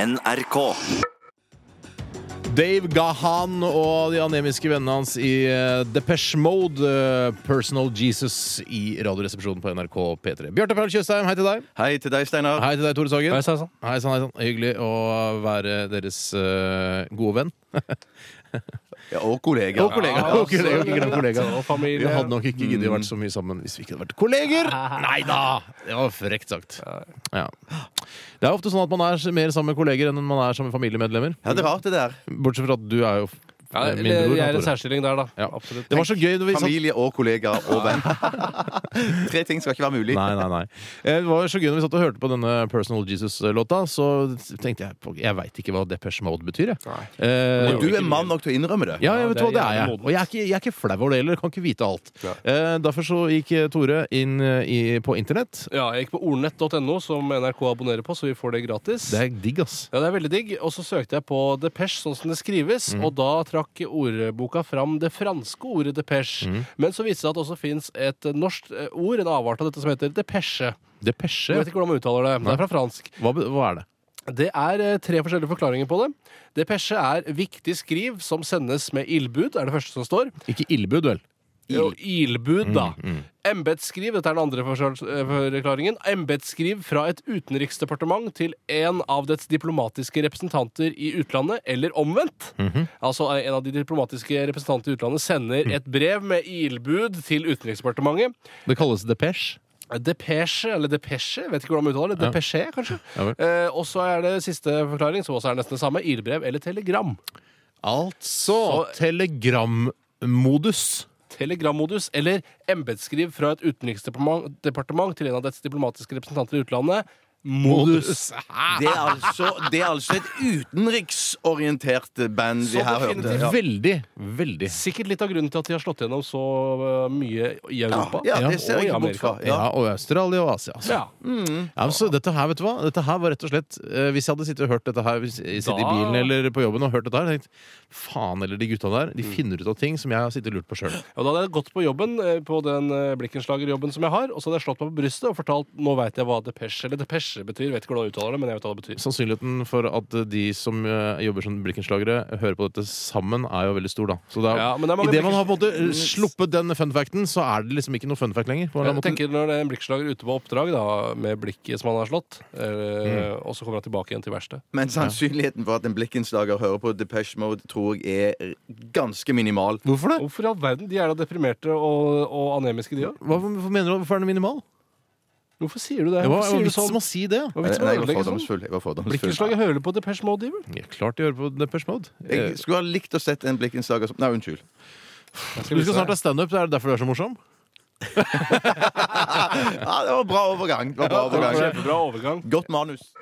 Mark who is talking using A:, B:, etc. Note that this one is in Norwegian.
A: NRK.
B: Dave Gahan og de anemiske vennene hans i eh, Depeche Mode, eh, Personal Jesus, i Radioresepsjonen på NRK P3. Bjarte Paul Tjøstheim, hei til deg.
A: Hei til deg, Steinar.
B: Hei til deg, Tore Sagen.
C: Hei, sa jeg sånn.
B: Hei sann, hei sann. Hyggelig å være deres eh, gode venn.
A: Ja, og kollega.
B: Og kollega.
A: Ja,
B: og kollega, ikke glem kollega.
C: altså, Og familie.
B: Vi hadde nok ikke giddet å vært så mye sammen hvis vi ikke hadde vært kolleger! Nei da! Det var frekt sagt. Ja. Det er ofte sånn at man er mer sammen med kolleger enn man er sammen med familiemedlemmer.
A: Ja, det er rart, det der.
B: Bortsett fra at du er jo
C: Ja,
B: eh, min bror.
C: jeg er i
B: Tore.
C: en særstilling der, da.
B: Ja.
C: Absolutt.
B: Det var så gøy. da vi satt-
A: Familie og kollega og venn. Tre ting skal ikke være mulig.
B: Nei, nei, nei. Eh, Det var så gøy når vi satt og hørte på denne Personal Jesus-låta, så tenkte jeg på Jeg veit ikke hva Depeche Mode betyr, jeg.
C: Nei.
B: Eh,
A: Men du er mann nok til å innrømme det.
B: ja,
C: Ja,
B: jeg vet
C: det er
B: hva, det er jeg.
C: jævlig
B: Og jeg er ikke, jeg er ikke flau over det heller. Kan ikke vite alt.
C: Ja.
B: Eh, derfor så gikk eh, Tore inn eh, i, på internett.
C: Ja, jeg gikk på ordnett.no, som NRK abonnerer på, så vi får det gratis.
B: Det er digg, ass.
C: Ja, det er veldig digg. Og så søkte jeg på depeche, sånn som det skrives,
B: Mhm.
C: og da trakk ordboka fram det franske ordet depeche.
B: Mhm.
C: Men så viste det seg at det også fins et norsk eh, ord, en avart av dette, som heter depeche. Jeg
B: Depeche.
C: vet ikke hvordan man uttaler det. Det er fra fransk.
B: Hva, be- hva er det?
C: Det er eh, tre forskjellige forklaringer på det. Depeche er viktig skriv som sendes med ildbud, er det første som står.
B: Ikke ildbud, vel?
C: Jo, ilbud, da.
B: Mm,
C: Embetsskriv, dette er den andre forskjell- eh, forklaringen. Embetsskriv fra et utenriksdepartement til en av dets diplomatiske representanter i utlandet, eller omvendt.
B: Mhm.
C: Altså eh, en av de diplomatiske representanter i utlandet
B: Mm.
C: sender et brev med ilbud til utenriksdepartementet.
B: Det kalles depeche.
C: Depesje, eller depesje, vet ikke hvordan man uttaler det. Depesje, kanskje.
B: Ja vel.
C: eh, og så er det siste forklaring, som også er nesten det samme. Ilbrev eller telegram.
B: Altså telegrammodus.
C: telegrammodus eller embetsskriv fra et utenriksdepartement departement til en av dets diplomatiske representanter i utlandet. Modus.
A: Det er altså, det er altså et utenriksorientert band vi
C: Så
A: her hørte.
C: definitivt.
A: Ja.
B: Veldig, veldig.
C: Sikkert litt av grunnen til at de har slått gjennom så øh, mye i Europa.
A: Ja,
B: Ja,
A: det ser
C: og
A: jeg
C: i
A: ikke bort fra.
C: Amerika.
A: Ja.
B: Ja, og Australia og Asia. Altså.
C: Ja.
B: Ja, men så dette her, vet du hva? Dette her var rett og slett eh, Hvis jeg hadde sittet og hørt dette her hvis jeg sitter i
C: Da-
B: bilen eller på jobben og hørt dette her, hadde jeg tenkt faen eller de gutta der, de
C: Mm.
B: finner ut av ting som jeg har sittet og lurt på sjøl.
C: Og da hadde jeg gått på jobben, eh, på den eh, blikkenslagerjobben som jeg har, og så hadde jeg slått meg på brystet og fortalt nå veit jeg hva depeche eller depeche betyr. Vet ikke hvordan jeg uttaler det, men jeg vet hva det betyr.
B: Sannsynligheten for at de som eh, jobber som blikkenslagere, hører på dette sammen, er jo veldig stor, da. Så det er,
C: Ja, men det er mange
B: idet man har på en måte eh, sluppet den fun facten, så er det liksom ikke noe fun fact lenger. På en eller
C: Jeg
B: annen måte.
C: tenker Når det er en blikkslager ute på oppdrag da, med blikket som han har slått, eh,
A: Mm.
C: og så kommer han tilbake igjen til verkstedet.
A: Men sannsynligheten for at en blikkenslager hører på Depeche Mode, tror jeg er ganske minimal.
B: Hvorfor det?
C: Hvorfor i all verden? De er da deprimerte og, og anemiske, de òg.
B: Hva, hvorfor mener du Hvorfor er den minimal?
C: Hvorfor sier du det?
B: Det var,
C: Hvorfor
B: var
C: sier du
B: vits
C: sånn?
B: med å si det.
C: Hva
A: Nei,
C: er vitsen med å
A: jeg var
C: ødelegge sånn?
A: fordomsfull. Jeg var fordomsfull.
C: Blikkenslaget hører på Depeche Mode, de vel?
B: Ja, klart de hører på Depeche Mode. Eh,
A: Jeg skulle ha likt å sett en blikkenslager som Nei, unnskyld.
B: Du skal snart ha standup, er det derfor du er så morsom?
A: Ja, det var bra overgang. Det var bra overgang.
C: Kjempebra overgang.
A: Godt manus.